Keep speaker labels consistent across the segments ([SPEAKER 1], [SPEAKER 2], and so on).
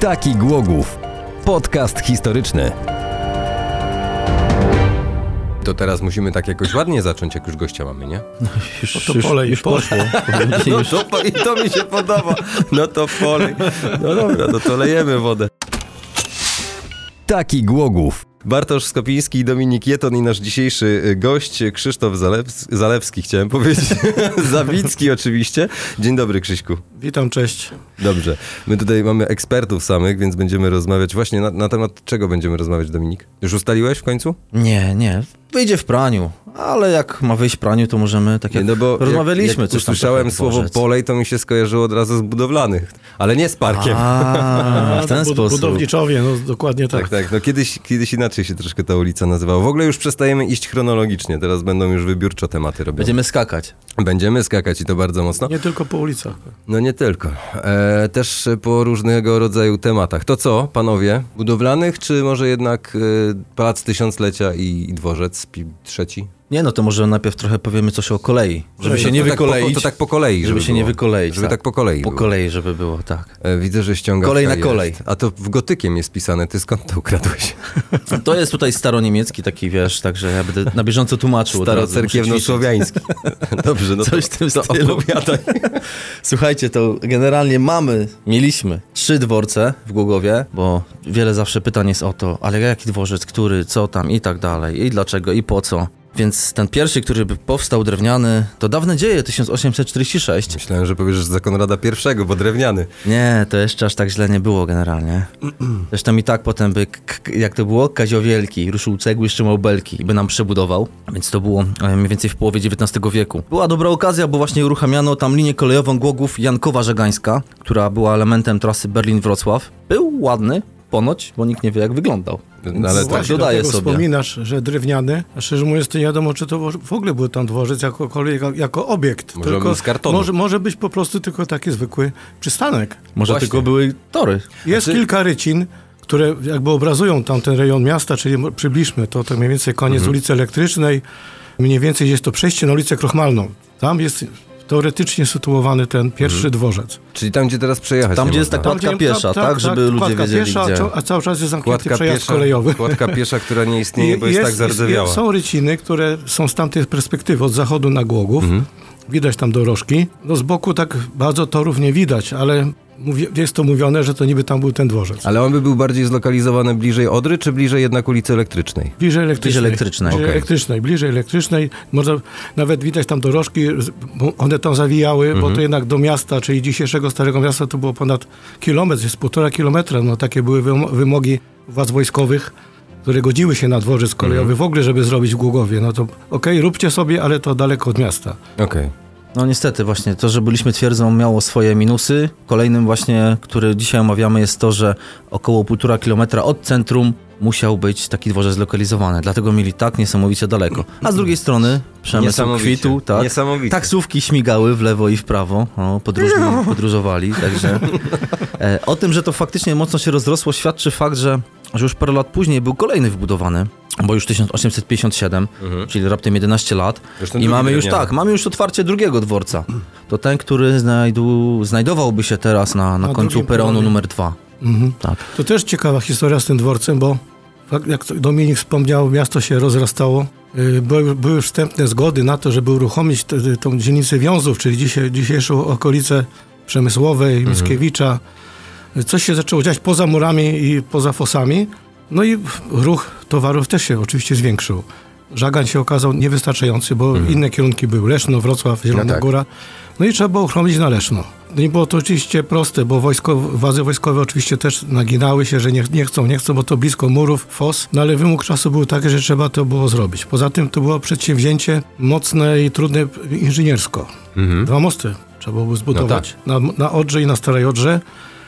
[SPEAKER 1] Taki Głogów. Podcast historyczny. To teraz musimy tak jakoś ładnie zacząć, jak już gościa mamy, nie?
[SPEAKER 2] Już,
[SPEAKER 3] to polej,
[SPEAKER 2] już poszło.
[SPEAKER 1] No to, po- i to mi się podoba. No to polej. No dobra, no to lejemy wodę. Taki Głogów. Bartosz Skopiński i Dominik Jeton i nasz dzisiejszy y, gość Krzysztof Zalews- Zalewski, chciałem powiedzieć. Zawicki oczywiście. Dzień dobry Krzyśku.
[SPEAKER 3] Witam, cześć.
[SPEAKER 1] Dobrze. My tutaj mamy ekspertów samych, więc będziemy rozmawiać. Właśnie na, na temat czego będziemy rozmawiać, Dominik? Już ustaliłeś w końcu?
[SPEAKER 2] Nie, nie. Wyjdzie w praniu. Ale jak ma wyjść w praniu, to możemy tak
[SPEAKER 1] Nie, no
[SPEAKER 2] jak rozmawialiśmy.
[SPEAKER 1] Jak, jak
[SPEAKER 2] coś tam
[SPEAKER 1] usłyszałem
[SPEAKER 2] trochę
[SPEAKER 1] słowo
[SPEAKER 2] dworzec.
[SPEAKER 1] polej, to mi się skojarzyło od razu z budowlanych. Ale nie z parkiem.
[SPEAKER 2] A, w ten
[SPEAKER 3] Bud-
[SPEAKER 2] sposób.
[SPEAKER 3] Budowniczowie, no dokładnie tak.
[SPEAKER 1] Tak, tak. No kiedyś, kiedyś inaczej się troszkę ta ulica nazywała. W ogóle już przestajemy iść chronologicznie. Teraz będą już wybiórczo tematy robione. Będziemy,
[SPEAKER 2] Będziemy skakać.
[SPEAKER 1] skakać i to bardzo mocno.
[SPEAKER 3] Nie tylko po ulicach.
[SPEAKER 1] No nie tylko. E, też po różnego rodzaju tematach. To co, panowie? Budowlanych, czy może jednak e, Pałac Tysiąclecia i, i Dworzec pi- trzeci?
[SPEAKER 2] Nie no, to może najpierw trochę powiemy coś o kolei. Żeby
[SPEAKER 1] To
[SPEAKER 2] się nie
[SPEAKER 1] tak po-
[SPEAKER 2] wykoleić.
[SPEAKER 1] To tak po kolei.
[SPEAKER 2] Żeby się
[SPEAKER 1] było.
[SPEAKER 2] nie wykoleić.
[SPEAKER 1] Żeby tak po kolei
[SPEAKER 2] Po
[SPEAKER 1] było.
[SPEAKER 2] kolei, żeby było, tak.
[SPEAKER 1] E, Widzę, że ściąga.
[SPEAKER 2] Kolej na kolej.
[SPEAKER 1] A to w gotykiem jest pisane. Ty skąd to ukradłeś?
[SPEAKER 2] To jest tutaj staroniemiecki taki, wiesz, także ja będę na bieżąco tłumaczył. od razu, muszę ćwiczyć.
[SPEAKER 1] Starocerkiewno-słowiański. Dobrze, no
[SPEAKER 2] Coś
[SPEAKER 1] to,
[SPEAKER 2] w tym
[SPEAKER 1] to
[SPEAKER 2] stylu.
[SPEAKER 1] opowiadaj.
[SPEAKER 2] Słuchajcie, to generalnie mamy, mieliśmy trzy dworce w Głogowie, bo wiele zawsze pytań jest o to, ale jaki dworzec, który, co tam i tak dalej, i dlaczego, i po co. Więc ten pierwszy, który by powstał drewniany, to dawne dzieje, 1846.
[SPEAKER 1] Myślałem, że powiesz, że za Konrada I, bo drewniany.
[SPEAKER 2] Nie, to jeszcze aż tak źle nie było generalnie. Zresztą i tak potem by, k- k- jak to było, Kazio Wielki ruszył cegły, trzymał belki i by nam przebudował, więc to było e, mniej więcej w połowie XIX wieku. Była dobra okazja, bo właśnie uruchamiano tam linię kolejową Głogów Jankowa-Żegańska, która była elementem trasy Berlin-Wrocław. Był ładny, ponoć, bo nikt nie wie jak wyglądał.
[SPEAKER 1] No
[SPEAKER 2] Więc
[SPEAKER 1] ale
[SPEAKER 2] ale
[SPEAKER 1] tak.
[SPEAKER 2] tak
[SPEAKER 3] Właśnie
[SPEAKER 2] dodaję
[SPEAKER 3] dlatego
[SPEAKER 2] sobie.
[SPEAKER 3] Wspominasz, że drewniany, a szczerze mówiąc to nie wiadomo, czy to wo- w ogóle był tam dworzec jako, kolej- jako obiekt.
[SPEAKER 1] Może był z kartonu.
[SPEAKER 3] Może, może być po prostu tylko taki zwykły przystanek.
[SPEAKER 2] Może
[SPEAKER 1] Właśnie.
[SPEAKER 2] tylko były tory.
[SPEAKER 3] Jest
[SPEAKER 1] Znaczy-
[SPEAKER 3] kilka rycin, które jakby obrazują tamten rejon miasta, czyli mo- przybliżmy to, to mniej więcej koniec
[SPEAKER 2] Mhm.
[SPEAKER 3] ulicy Elektrycznej, mniej więcej jest to przejście na ulicę Krochmalną. Tam jest teoretycznie sytuowany ten pierwszy
[SPEAKER 2] Mhm.
[SPEAKER 3] dworzec.
[SPEAKER 1] Czyli tam, gdzie teraz przejechać
[SPEAKER 2] Tam,
[SPEAKER 1] nie
[SPEAKER 2] gdzie jest
[SPEAKER 1] można.
[SPEAKER 2] taka- Kładka piesza, tak, żeby ludzie
[SPEAKER 3] kładka
[SPEAKER 2] wiedzieli,
[SPEAKER 3] piesza,
[SPEAKER 2] gdzie.
[SPEAKER 3] A, czo- a cały czas jest zamknięty
[SPEAKER 1] Kładka
[SPEAKER 3] przejazd
[SPEAKER 1] piesza,
[SPEAKER 3] kolejowy.
[SPEAKER 1] kładka piesza, która nie
[SPEAKER 3] I-
[SPEAKER 1] istnieje, bo jest, tak
[SPEAKER 3] jest-
[SPEAKER 1] zardzewiała.
[SPEAKER 3] Są ryciny, które są z tamtej perspektywy, od zachodu na Głogów.
[SPEAKER 1] Mhm.
[SPEAKER 3] Widać tam dorożki. No z boku tak bardzo torów nie widać, ale mówię, jest to mówione, że to niby tam był ten dworzec.
[SPEAKER 1] Ale on by był bardziej zlokalizowany bliżej Odry, czy bliżej jednak ulicy Elektrycznej?
[SPEAKER 3] Bliżej elektrycznej.
[SPEAKER 2] Bliżej elektrycznej.
[SPEAKER 3] Bliżej
[SPEAKER 1] Okej.
[SPEAKER 3] elektrycznej, bliżej elektrycznej. Można nawet widać tam dorożki, z- bo one tam zawijały,
[SPEAKER 2] Mhm.
[SPEAKER 3] bo to jednak do miasta, czyli dzisiejszego Starego Miasta to było ponad kilometr, jest półtora kilometra. No takie były wym- wymogi władz wojskowych, które godziły się na dworzec kolejowy
[SPEAKER 2] Mhm.
[SPEAKER 3] w ogóle, żeby zrobić w Głogowie. No to okej, róbcie sobie, ale to daleko od miasta.
[SPEAKER 1] Okej.
[SPEAKER 2] No niestety właśnie, to, że byliśmy twierdzą miało swoje minusy. Kolejnym właśnie, który dzisiaj omawiamy jest to, że około półtora kilometra od centrum musiał być taki dworzec zlokalizowany, dlatego mieli tak niesamowicie daleko. A z drugiej strony przemysł
[SPEAKER 1] Niesamowicie.
[SPEAKER 2] kwitł, tak?
[SPEAKER 1] Niesamowicie. No.
[SPEAKER 2] Taksówki śmigały w lewo i w prawo, o, podróżni, podróżowali, także... E, O tym, że to faktycznie mocno się rozrosło, świadczy fakt, że, że już parę lat później był kolejny wybudowany, bo już 1857, czyli raptem 11 lat.
[SPEAKER 1] Mhm. Już ten
[SPEAKER 2] I
[SPEAKER 1] drugi
[SPEAKER 2] mamy już
[SPEAKER 1] drewniany.
[SPEAKER 2] tak, mamy już otwarcie drugiego dworca. To ten, który znajdu, znajdowałby się teraz na, na
[SPEAKER 3] Na
[SPEAKER 2] końcu
[SPEAKER 3] drugim
[SPEAKER 2] peronu
[SPEAKER 3] peronie.
[SPEAKER 2] numer dwa.
[SPEAKER 3] Mhm.
[SPEAKER 2] Tak.
[SPEAKER 3] To też ciekawa historia z tym dworcem, bo fakt- jak to Dominik wspomniał, miasto się rozrastało. Yy, Były, były wstępne zgody na to, żeby uruchomić te, tą dzielnicę Wiązów, czyli dzisiaj, dzisiejszą okolicę Przemysłowej, Mickiewicza. Yy, Coś się zaczęło dziać poza murami i poza fosami. No i ruch towarów też się oczywiście zwiększył. Żagań się okazał niewystarczający, bo inne kierunki były. Leszno, Wrocław, Zielona
[SPEAKER 1] Mhm. No tak.
[SPEAKER 3] Góra. No i trzeba było uchronić na Leszno. No i było to oczywiście proste, bo wojsko, władze wojskowe oczywiście też naginały się, że nie, nie chcą, nie chcą, bo to blisko murów, fos, no ale wymóg czasu był taki, że trzeba to było zrobić. Poza tym to było przedsięwzięcie mocne i trudne inżyniersko.
[SPEAKER 1] Mhm. No tak.
[SPEAKER 3] Dwa mosty trzeba było zbudować. na, na Odrze i na Starej Odrze.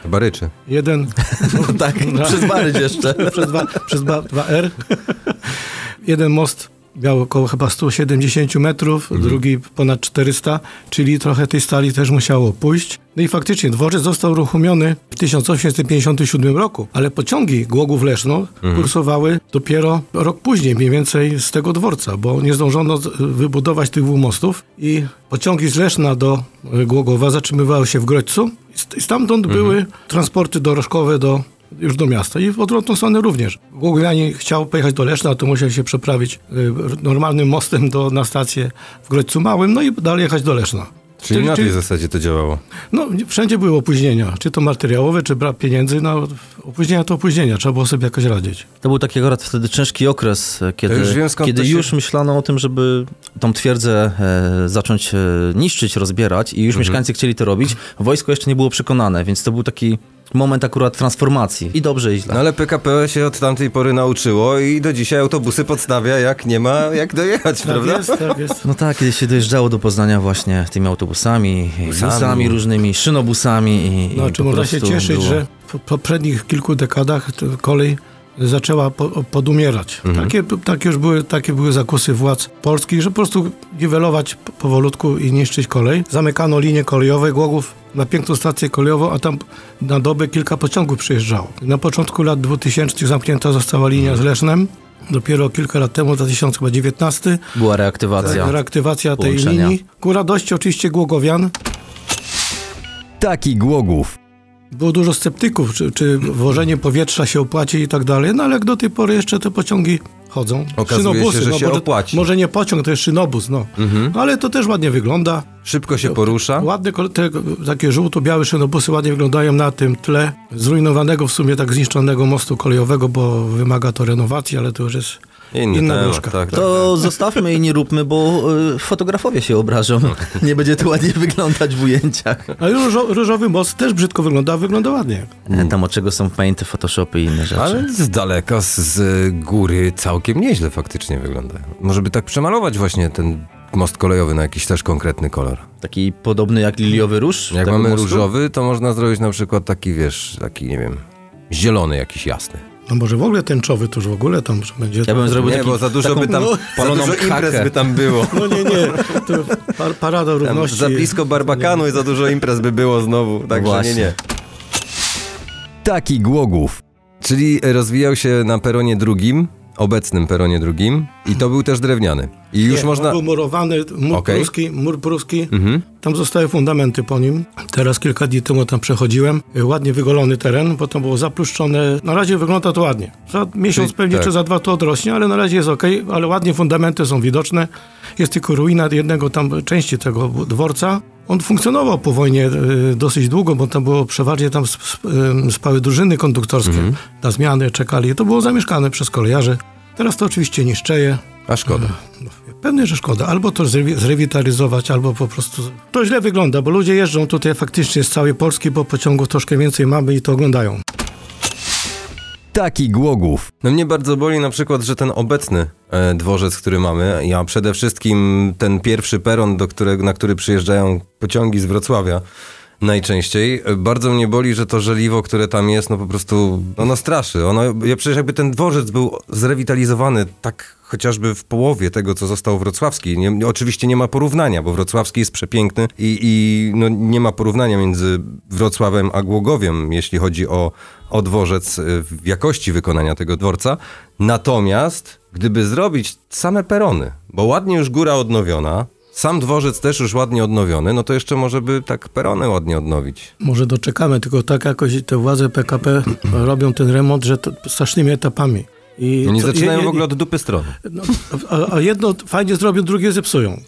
[SPEAKER 1] Baryczy.
[SPEAKER 3] Jeden
[SPEAKER 2] tak, przez Baryć jeszcze.
[SPEAKER 3] przez, dwa, przez dwa, dwa R. Jeden most miał około chyba 170 metrów, drugi ponad 400, czyli trochę tej stali też musiało pójść. No i faktycznie dworzec został uruchomiony w 1857 roku, ale pociągi Głogów Leszno kursowały dopiero rok później, mniej więcej z tego dworca, bo nie zdążono z- wybudować tych dwóch mostów i pociągi z Leszna do y, Głogowa zatrzymywały się w Grodźcu i st- i stamtąd były transporty dorożkowe do już do miasta i w odwrotną stronę również. Głogowianin chciał pojechać do Leszna, to musiał się przeprawić y, normalnym mostem do, na stację w Grodźcu Małym, no i dalej jechać do Leszna.
[SPEAKER 1] Czyli na tej zasadzie to działało.
[SPEAKER 3] No, wszędzie były opóźnienia, czy to materiałowe, czy brak pieniędzy, no opóźnienia to opóźnienia, trzeba było sobie jakoś radzić.
[SPEAKER 2] To był taki akurat wtedy ciężki okres, e, kiedy,
[SPEAKER 1] już wiem, skąd
[SPEAKER 2] kiedy
[SPEAKER 1] to się-
[SPEAKER 2] już myślano o tym, żeby tą twierdzę e, zacząć e, niszczyć, rozbierać i już
[SPEAKER 3] Mhm.
[SPEAKER 2] mieszkańcy chcieli to robić. Wojsko jeszcze nie było przekonane, więc to był taki moment akurat transformacji. I dobrze, i źle.
[SPEAKER 1] No ale PKP się od tamtej pory nauczyło i do dzisiaj autobusy podstawia, jak nie ma jak dojechać, prawda?
[SPEAKER 3] jest, tak jest.
[SPEAKER 2] No tak, kiedy się dojeżdżało do Poznania właśnie tymi autobusami,
[SPEAKER 1] Busami.
[SPEAKER 2] busami, różnymi, szynobusami i
[SPEAKER 3] No,
[SPEAKER 2] i
[SPEAKER 3] czy
[SPEAKER 2] po
[SPEAKER 3] można się
[SPEAKER 2] prostu
[SPEAKER 3] cieszyć,
[SPEAKER 2] było-
[SPEAKER 3] że po poprzednich kilku dekadach to kolej zaczęła po, podumierać.
[SPEAKER 2] Mhm.
[SPEAKER 3] Takie, takie już były, takie były zakusy władz polskich, że po prostu niwelować p- powolutku i niszczyć kolej. Zamykano linie kolejowe Głogów na piękną stację kolejową, a tam na dobę kilka pociągów przyjeżdżało. Na początku lat 2000 zamknięta została
[SPEAKER 2] Mhm.
[SPEAKER 3] linia z Lesznem. Dopiero kilka lat temu, 2019,
[SPEAKER 2] była
[SPEAKER 1] Tak,
[SPEAKER 2] reaktywacja.
[SPEAKER 3] reaktywacja tej
[SPEAKER 2] Połączenia.
[SPEAKER 3] linii. Ku radości oczywiście Głogowian,
[SPEAKER 1] Taki Głogów.
[SPEAKER 3] Było dużo sceptyków, czy, czy wożenie powietrza się opłaci i tak dalej, no ale jak do tej pory jeszcze te pociągi chodzą.
[SPEAKER 1] Okazuje się, że się
[SPEAKER 3] może,
[SPEAKER 1] opłaci. Mhm.
[SPEAKER 3] może nie pociąg, to jest szynobus, no. No Ale to też ładnie wygląda.
[SPEAKER 1] Szybko się porusza.
[SPEAKER 3] Ładne, kol- te, takie żółto-białe szynobusy ładnie wyglądają na tym tle zrujnowanego, w sumie tak zniszczonego mostu kolejowego, bo wymaga to renowacji, ale to już jest
[SPEAKER 1] Inny
[SPEAKER 3] inna
[SPEAKER 1] temat,
[SPEAKER 3] wróżka.
[SPEAKER 1] tak, tak.
[SPEAKER 2] To zostawmy i nie róbmy, bo y, fotografowie się obrażą. Nie będzie to ładnie wyglądać w ujęciach.
[SPEAKER 3] A różo, różowy most też brzydko wygląda, wygląda ładnie.
[SPEAKER 2] Tam od czego są painty, photoshopy i inne rzeczy.
[SPEAKER 1] Mm. Ale z daleka, z, z góry całkiem nieźle faktycznie wygląda. Może by tak przemalować właśnie ten most kolejowy na jakiś też konkretny kolor.
[SPEAKER 2] Taki podobny jak liliowy róż.
[SPEAKER 1] Jak
[SPEAKER 2] tego
[SPEAKER 1] mamy
[SPEAKER 2] mostu.
[SPEAKER 1] różowy, to można zrobić na przykład taki, wiesz, taki, nie wiem, zielony jakiś jasny.
[SPEAKER 3] No może w ogóle tęczowy, to już w ogóle tam że będzie...
[SPEAKER 2] Ja bym zrobił
[SPEAKER 1] nie,
[SPEAKER 2] taki,
[SPEAKER 1] bo za dużo
[SPEAKER 2] taką
[SPEAKER 1] by tam, za
[SPEAKER 2] paloną
[SPEAKER 1] dużo imprez
[SPEAKER 2] hakę.
[SPEAKER 1] by tam było.
[SPEAKER 3] No nie, nie, to par, parada
[SPEAKER 1] Tam
[SPEAKER 3] równości.
[SPEAKER 1] za blisko Barbakanu i za dużo imprez by było znowu, także nie,
[SPEAKER 2] Właśnie.
[SPEAKER 1] nie. Taki Głogów. Czyli rozwijał się na peronie drugim, obecnym peronie drugim i to był też drewniany. I już
[SPEAKER 3] Nie,
[SPEAKER 1] można...
[SPEAKER 3] Był murowany mur
[SPEAKER 1] Okej.
[SPEAKER 3] pruski, mur pruski.
[SPEAKER 1] Mhm.
[SPEAKER 3] Tam zostały fundamenty po nim. Teraz kilka dni temu tam przechodziłem. Y, Ładnie wygolony teren, bo tam było zapluszczone. Na razie wygląda to ładnie. Za miesiąc
[SPEAKER 1] Czyli-
[SPEAKER 3] pewnie
[SPEAKER 1] tak.
[SPEAKER 3] czy za dwa to odrośnie, ale na razie jest ok, ale ładnie fundamenty są widoczne. Jest tylko ruina jednego tam części tego bu- dworca. On funkcjonował po wojnie y, dosyć długo, bo tam było przeważnie tam sp- sp- ym, spały drużyny konduktorskie
[SPEAKER 1] Mhm.
[SPEAKER 3] na zmiany, czekali. To było zamieszkane przez kolejarzy. Teraz to oczywiście niszczeje.
[SPEAKER 1] A szkoda.
[SPEAKER 3] Pewnie, że szkoda. Albo to zrewi- zrewitalizować, albo po prostu... To źle wygląda, bo ludzie jeżdżą tutaj faktycznie z całej Polski, bo pociągów troszkę więcej mamy i to oglądają.
[SPEAKER 1] Taki Głogów. No mnie bardzo boli na przykład, że ten obecny e, dworzec, który mamy, a przede wszystkim ten pierwszy peron, do którego, na który przyjeżdżają pociągi z Wrocławia najczęściej, e, bardzo mnie boli, że to żeliwo, które tam jest, no po prostu, ono straszy. Ono, ja przecież jakby ten dworzec był zrewitalizowany tak chociażby w połowie tego, co został wrocławski. Nie, oczywiście nie ma porównania, bo wrocławski jest przepiękny i, i no, nie ma porównania między Wrocławem a Głogowiem, jeśli chodzi o, o dworzec y, w jakości wykonania tego dworca. Natomiast gdyby zrobić same perony, bo ładnie już góra odnowiona, sam dworzec też już ładnie odnowiony, no to jeszcze może by tak perony ładnie odnowić.
[SPEAKER 3] Może doczekamy, tylko tak jakoś te władze PKP robią ten remont, że to strasznymi etapami. I
[SPEAKER 1] Oni
[SPEAKER 3] co-
[SPEAKER 1] No zaczynają
[SPEAKER 3] je-
[SPEAKER 1] w
[SPEAKER 3] je-
[SPEAKER 1] ogóle od dupy strony.
[SPEAKER 3] No, a, a jedno fajnie zrobią, drugie zepsują.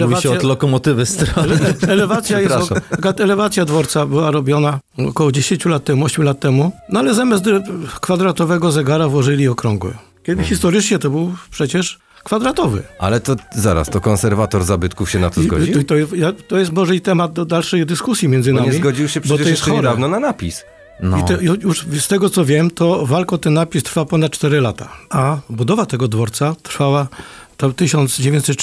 [SPEAKER 2] Mówi się od lokomotywy strony.
[SPEAKER 3] Ele- Elewacja, jest,
[SPEAKER 1] Przepraszam.
[SPEAKER 3] taka elewacja dworca była robiona około 10 lat temu, 8 lat temu, no ale zamiast dre- kwadratowego zegara włożyli okrągły. Kiedy
[SPEAKER 1] Mhm.
[SPEAKER 3] historycznie to był przecież kwadratowy.
[SPEAKER 1] Ale to zaraz, to konserwator zabytków się na to
[SPEAKER 3] I-
[SPEAKER 1] zgodził?
[SPEAKER 3] i To, ja- to jest może i temat do dalszej dyskusji między
[SPEAKER 1] Bo
[SPEAKER 3] nami.
[SPEAKER 1] nie zgodził się
[SPEAKER 3] bo
[SPEAKER 1] przecież
[SPEAKER 3] to jest
[SPEAKER 1] jeszcze
[SPEAKER 3] chore.
[SPEAKER 1] niedawno na napis.
[SPEAKER 2] No.
[SPEAKER 3] I te, ju- już z tego co wiem, to walka o ten napis trwa ponad 4 lata, a budowa tego dworca trwała tam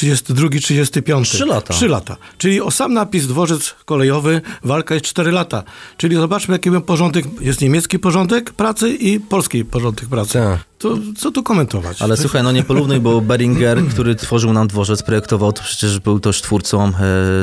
[SPEAKER 3] 1932-35.
[SPEAKER 2] Trzy lata.
[SPEAKER 3] 3 lata. Czyli o sam napis dworzec kolejowy walka jest 4 lata. Czyli zobaczmy jaki był porządek, jest niemiecki porządek pracy i polski porządek pracy.
[SPEAKER 1] Tak.
[SPEAKER 3] To co tu komentować?
[SPEAKER 2] Ale
[SPEAKER 3] To-
[SPEAKER 2] słuchaj, no nie porównuj, bo Beringer, który tworzył nam dworzec, projektował, to przecież był też twórcą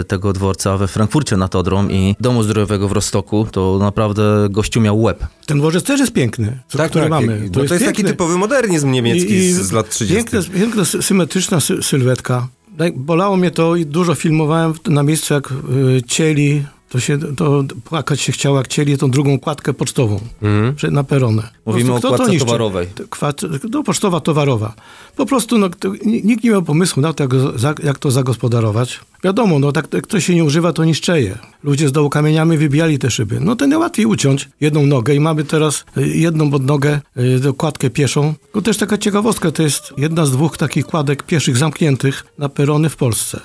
[SPEAKER 2] e, tego dworca we Frankfurcie nad Odrą i domu zdrojowego w Rostoku, to naprawdę gościu miał łeb.
[SPEAKER 3] Ten dworzec też jest piękny, co, który
[SPEAKER 1] jak-
[SPEAKER 3] Tak, mamy.
[SPEAKER 1] no to jest, taki
[SPEAKER 3] piękny.
[SPEAKER 1] typowy modernizm niemiecki
[SPEAKER 3] I- i
[SPEAKER 1] z, z lat 30.
[SPEAKER 3] Piękna, piękna sy- symetryczna sy- sylwetka. Daj- Bolało mnie to i dużo filmowałem w- na miejscu, jak y, cieli, to się, to płakać się chciało, jak cieli tą drugą kładkę pocztową
[SPEAKER 1] Mhm.
[SPEAKER 3] przy- na peronę. Po
[SPEAKER 2] Mówimy
[SPEAKER 3] prostu kto
[SPEAKER 2] o
[SPEAKER 3] to
[SPEAKER 2] kładce
[SPEAKER 3] niszczy?
[SPEAKER 2] towarowej.
[SPEAKER 3] T- kwat- No, pocztowa towarowa. Po prostu no, to, ni- nikt nie miał pomysłu na to, jak, go za, jak to zagospodarować. Wiadomo, no, tak, jak ktoś się nie używa, to niszczeje. Ludzie z dołu kamieniami wybijali te szyby. No to najłatwiej uciąć jedną nogę i mamy teraz y, jedną podnogę, y, dokładkę pieszą. To też taka ciekawostka, to jest jedna z dwóch takich kładek pieszych zamkniętych na perony w Polsce.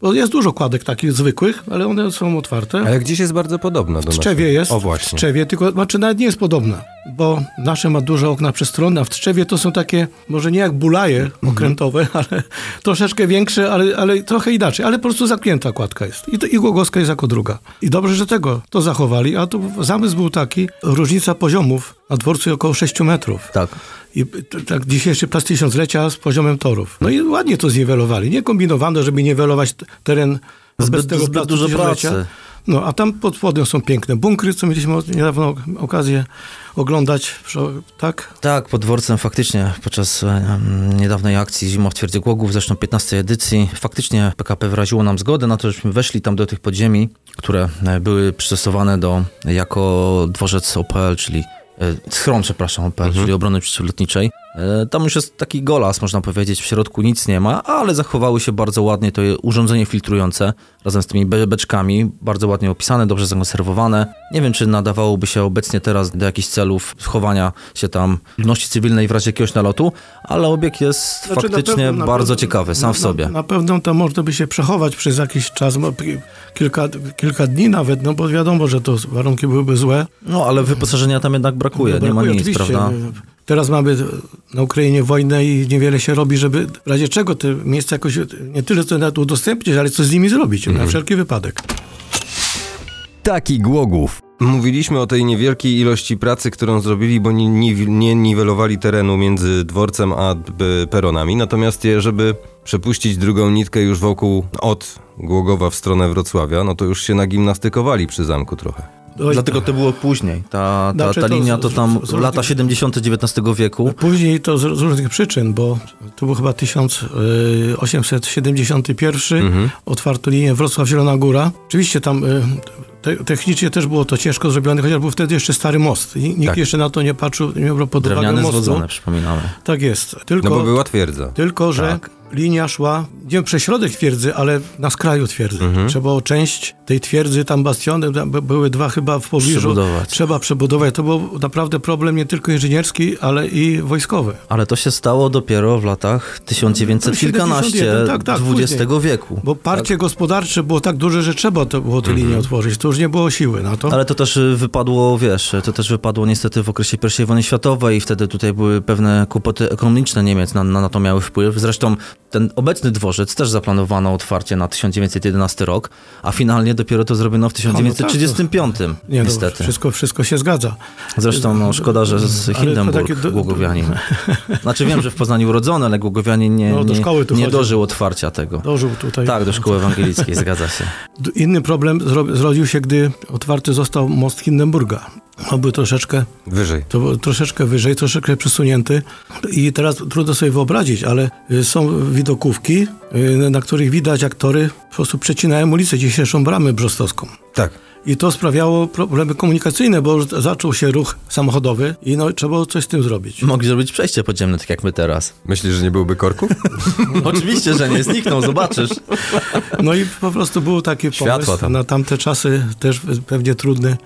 [SPEAKER 3] Bo jest dużo kładek takich zwykłych, ale one są otwarte.
[SPEAKER 1] Ale gdzieś jest bardzo podobna do
[SPEAKER 3] W
[SPEAKER 1] nas.
[SPEAKER 3] Tczewie jest.
[SPEAKER 1] O
[SPEAKER 3] W
[SPEAKER 1] właśnie.
[SPEAKER 3] Tczewie, tylko znaczy nawet nie jest podobna, bo nasze ma duże okna przestronne, a w Tczewie to są takie, może nie jak bulaje
[SPEAKER 1] Mhm.
[SPEAKER 3] okrętowe, ale troszeczkę większe, ale, ale trochę inaczej. Ale po prostu zamknięta kładka jest. I, to- i Głogoska jest jako druga. I dobrze, że tego to zachowali, a tu zamysł był taki, różnica poziomów na dworcu jest około 6 metrów.
[SPEAKER 2] Tak.
[SPEAKER 3] I t- tak dzisiejszy plac tysiąclecia z poziomem torów. No i ładnie to zniwelowali. Nie kombinowano, żeby niwelować t- teren
[SPEAKER 2] Zbyt-
[SPEAKER 3] obecnego
[SPEAKER 2] zbyt
[SPEAKER 3] placu
[SPEAKER 2] dużo
[SPEAKER 3] tysiąclecia.
[SPEAKER 2] pracy.
[SPEAKER 3] No, a tam pod spodem są piękne bunkry, co mieliśmy o- niedawno ok- okazję oglądać. Prze- Tak?
[SPEAKER 2] Tak, pod dworcem faktycznie podczas em, niedawnej akcji Zima w Twierdzy Głogów, zresztą 15 edycji, faktycznie PKP wyraziło nam zgodę na to, żebyśmy weszli tam do tych podziemi, które e, były przystosowane do, jako dworzec OPL, czyli e, schron, przepraszam, OPL, czyli obrony przeciwlotniczej. E, Tam już jest taki golas, można powiedzieć, w środku nic nie ma, ale zachowały się bardzo ładnie to urządzenie filtrujące razem z tymi be- beczkami, bardzo ładnie opisane, dobrze zakonserwowane. Nie wiem, czy nadawałoby się obecnie teraz do jakichś celów schowania się tam ludności cywilnej w razie jakiegoś nalotu, ale obiekt jest
[SPEAKER 3] Znaczy, na
[SPEAKER 2] faktycznie
[SPEAKER 3] pewno- na
[SPEAKER 2] bardzo
[SPEAKER 3] pewno-
[SPEAKER 2] ciekawy sam
[SPEAKER 3] na-
[SPEAKER 2] w sobie.
[SPEAKER 3] Na, na pewno tam można by się przechować przez jakiś czas, mo- pi- kilka, kilka dni nawet, no bo wiadomo, że to warunki byłyby złe.
[SPEAKER 2] No, ale wyposażenia tam jednak brakuje,
[SPEAKER 3] No,
[SPEAKER 2] nie ma
[SPEAKER 3] brakuje,
[SPEAKER 2] nic,
[SPEAKER 3] oczywiście.
[SPEAKER 2] prawda?
[SPEAKER 3] Teraz mamy na Ukrainie wojnę i niewiele się robi, żeby w razie czego te miejsca jakoś nie tyle co nawet udostępnić, ale co z nimi zrobić
[SPEAKER 2] Mhm.
[SPEAKER 3] na wszelki wypadek.
[SPEAKER 4] Taki Głogów.
[SPEAKER 1] Mówiliśmy o tej niewielkiej ilości pracy, którą zrobili, bo nie, nie, nie niwelowali terenu między dworcem a b- peronami. Natomiast je, żeby przepuścić drugą nitkę już wokół od Głogowa w stronę Wrocławia, no to już się nagimnastykowali przy zamku trochę.
[SPEAKER 3] No i-
[SPEAKER 2] Dlatego to było później. Ta, ta,
[SPEAKER 3] Znaczy
[SPEAKER 2] ta
[SPEAKER 3] to
[SPEAKER 2] linia
[SPEAKER 3] z-
[SPEAKER 2] to tam
[SPEAKER 3] z- z-
[SPEAKER 2] lata 70. XIX wieku.
[SPEAKER 3] Później to z, z różnych przyczyn, bo to był chyba e, 1871,
[SPEAKER 2] Mhm.
[SPEAKER 3] otwarto linię Wrocław-Zielona Góra. Oczywiście tam y, te, technicznie też było to ciężko zrobione, chociaż był wtedy jeszcze stary most. I Nikt
[SPEAKER 1] Tak.
[SPEAKER 3] jeszcze na to nie patrzył, nie brał pod uwagę
[SPEAKER 2] Drewniane
[SPEAKER 3] mostu.
[SPEAKER 2] zwodzone, przypominamy.
[SPEAKER 3] Tak jest. Tylko
[SPEAKER 1] No bo była twierdza.
[SPEAKER 3] Tylko, że
[SPEAKER 2] Tak.
[SPEAKER 3] linia szła, nie wiem, prześrodek twierdzy, ale na skraju twierdzy.
[SPEAKER 2] Mhm.
[SPEAKER 3] Trzeba było część tej twierdzy, tam bastiony, tam by- były dwa chyba w pobliżu.
[SPEAKER 2] Przebudować.
[SPEAKER 3] Trzeba przebudować. To był naprawdę problem nie tylko inżynierski, ale i wojskowy.
[SPEAKER 2] Ale to się stało dopiero w latach 1900 kilkanaście
[SPEAKER 3] 71, tak, tak,
[SPEAKER 2] XX
[SPEAKER 3] później.
[SPEAKER 2] wieku.
[SPEAKER 3] Bo parcie gospodarcze było tak duże, że trzeba to było te linie otworzyć. To już nie było siły na to.
[SPEAKER 2] Mhm. Ale to też y, wypadło, wiesz, to też wypadło niestety w okresie I wojny światowej i wtedy tutaj były pewne kłopoty ekonomiczne Niemiec na, na, na to miały wpływ. Zresztą ten obecny dworzec też zaplanowano otwarcie na 1911 rok, a finalnie dopiero to zrobiono w 1935
[SPEAKER 3] no tak, Nie, no,
[SPEAKER 2] niestety.
[SPEAKER 3] wszystko, wszystko się zgadza.
[SPEAKER 2] Zresztą no, szkoda, że z
[SPEAKER 3] Ale to
[SPEAKER 2] Hindenburg
[SPEAKER 3] takie do-
[SPEAKER 2] Głogowianin. Znaczy wiem, że w Poznaniu urodzony, ale Głogowianin nie,
[SPEAKER 3] No, do szkoły tu
[SPEAKER 2] nie, nie
[SPEAKER 3] chodził.
[SPEAKER 2] dożył otwarcia tego.
[SPEAKER 3] Dożył tutaj.
[SPEAKER 2] Tak, do szkoły ewangelickiej, zgadza się.
[SPEAKER 3] D- Inny problem zro- zrodził się, gdy otwarty został most Hindenburga. On był troszeczkę
[SPEAKER 1] Wyżej.
[SPEAKER 3] To było troszeczkę wyżej, troszeczkę przesunięty. I teraz trudno sobie wyobrazić, ale y, są widokówki, y, na których widać, jak tory po prostu przecinają ulicę, dzisiejszą bramę brzostowską.
[SPEAKER 1] Tak.
[SPEAKER 3] I to sprawiało problemy komunikacyjne, bo już zaczął się ruch samochodowy i no, trzeba było coś z tym zrobić.
[SPEAKER 2] Mogli zrobić przejście podziemne, tak jak my teraz.
[SPEAKER 1] Myślisz, że nie byłby korków?
[SPEAKER 2] Oczywiście, że nie znikną, zobaczysz.
[SPEAKER 3] No i po prostu był taki
[SPEAKER 1] Światła
[SPEAKER 3] pomysł
[SPEAKER 1] tam.
[SPEAKER 3] na tamte czasy, też pewnie trudny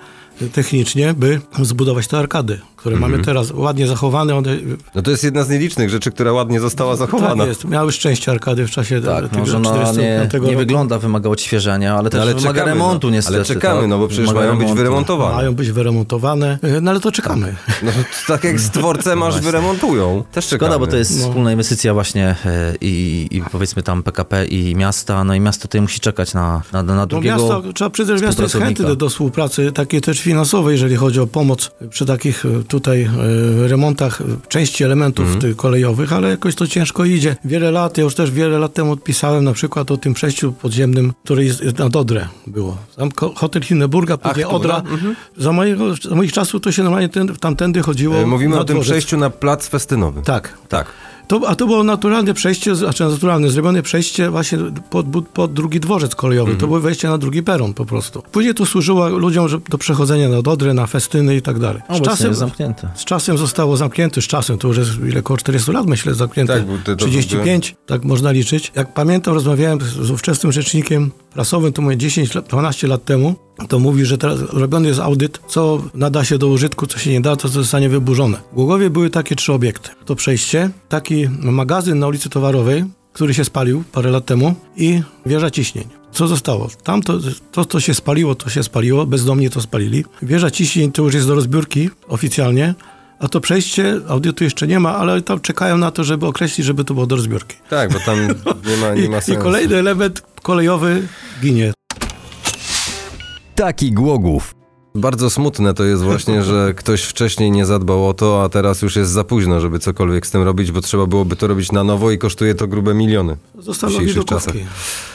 [SPEAKER 3] y, technicznie, by zbudować te arkady, które
[SPEAKER 2] Mhm.
[SPEAKER 3] mamy teraz ładnie zachowane. One y,
[SPEAKER 1] No to jest jedna z nielicznych rzeczy, która ładnie została zachowana.
[SPEAKER 3] tak jest, miały szczęście arkady w czasie e,
[SPEAKER 2] Tak,
[SPEAKER 3] tego
[SPEAKER 2] może ona
[SPEAKER 3] 45
[SPEAKER 2] nie,
[SPEAKER 3] roku.
[SPEAKER 2] nie wygląda, wymaga odświeżenia, ale też
[SPEAKER 1] No, ale
[SPEAKER 2] wymaga
[SPEAKER 1] czekamy,
[SPEAKER 2] remontu
[SPEAKER 1] no.
[SPEAKER 2] niestety.
[SPEAKER 1] Ale czekamy,
[SPEAKER 2] tak?
[SPEAKER 1] no bo przecież
[SPEAKER 2] Wymaga
[SPEAKER 1] mają być
[SPEAKER 2] remontu.
[SPEAKER 1] wyremontowane.
[SPEAKER 3] Mają być wyremontowane, e, no ale to czekamy.
[SPEAKER 1] No, to tak jak z dworcem
[SPEAKER 2] No
[SPEAKER 1] aż wyremontują. Też czekamy.
[SPEAKER 3] No
[SPEAKER 2] Szkoda, bo to jest wspólna inwestycja właśnie e, i, i powiedzmy tam PKP i miasta, no i miasto tutaj musi czekać na, na, na
[SPEAKER 3] No
[SPEAKER 2] drugiego...
[SPEAKER 3] miasto, trzeba przyznać, że miasto jest
[SPEAKER 2] współpracownika.
[SPEAKER 3] chętne do, do współpracy takiej też finansowej, jeżeli chodzi o pomoc przy takich e, tu tutaj y, remontach y, części elementów
[SPEAKER 1] Mhm.
[SPEAKER 3] tych kolejowych, ale jakoś to ciężko idzie. Wiele lat, ja już też wiele lat temu odpisałem na przykład o tym przejściu podziemnym, który jest jest na Dodrę było. Tam ko- hotel Hindenburga, później
[SPEAKER 1] tu, no.
[SPEAKER 3] Odra. Za, mojego, za moich czasów to się normalnie ten, tamtędy chodziło
[SPEAKER 1] E, Mówimy
[SPEAKER 3] na
[SPEAKER 1] o tym
[SPEAKER 3] dworzec.
[SPEAKER 1] przejściu na plac festynowy.
[SPEAKER 3] Tak.
[SPEAKER 1] Tak.
[SPEAKER 3] To, a to było naturalne przejście, znaczy naturalne, zrobione przejście właśnie pod, bu- pod drugi dworzec kolejowy.
[SPEAKER 2] Mhm.
[SPEAKER 3] To było wejście na drugi peron po prostu. Później to służyło ludziom że, do przechodzenia na Dodrę, na festyny i tak dalej. Z
[SPEAKER 2] Obecnie
[SPEAKER 3] czasem,
[SPEAKER 2] jest zamknięte.
[SPEAKER 3] z czasem zostało zamknięte, z czasem, to już jest ile, około 40 lat myślę zamknięte,
[SPEAKER 1] Tak, bo te- to-
[SPEAKER 3] 35, tak można liczyć. Jak pamiętam, rozmawiałem z, z ówczesnym rzecznikiem prasowym, to mówię 10, lat- 12 lat temu, to mówi, że teraz robiony jest audyt, co nada się do użytku, co się nie da, to co zostanie wyburzone. W Głogowie były takie trzy obiekty. To przejście, taki magazyn na ulicy Towarowej, który się spalił parę lat temu i wieża ciśnień. Co zostało? Tam to, to, co się spaliło, to się spaliło, bezdomnie to spalili. Wieża ciśnień to już jest do rozbiórki oficjalnie, a to przejście audytu jeszcze nie ma, ale tam czekają na to, żeby określić, żeby to było do rozbiórki.
[SPEAKER 1] Tak, bo tam nie ma, nie ma
[SPEAKER 3] I, I
[SPEAKER 1] sensu.
[SPEAKER 3] kolejny element kolejowy ginie.
[SPEAKER 4] Taki Głogów.
[SPEAKER 1] Bardzo smutne to jest właśnie, że ktoś wcześniej nie zadbał o to, a teraz już jest za późno, żeby cokolwiek z tym robić, bo trzeba byłoby to robić na nowo i kosztuje to grube miliony.
[SPEAKER 3] Zostaną
[SPEAKER 1] dzisiejszych
[SPEAKER 3] widokówki.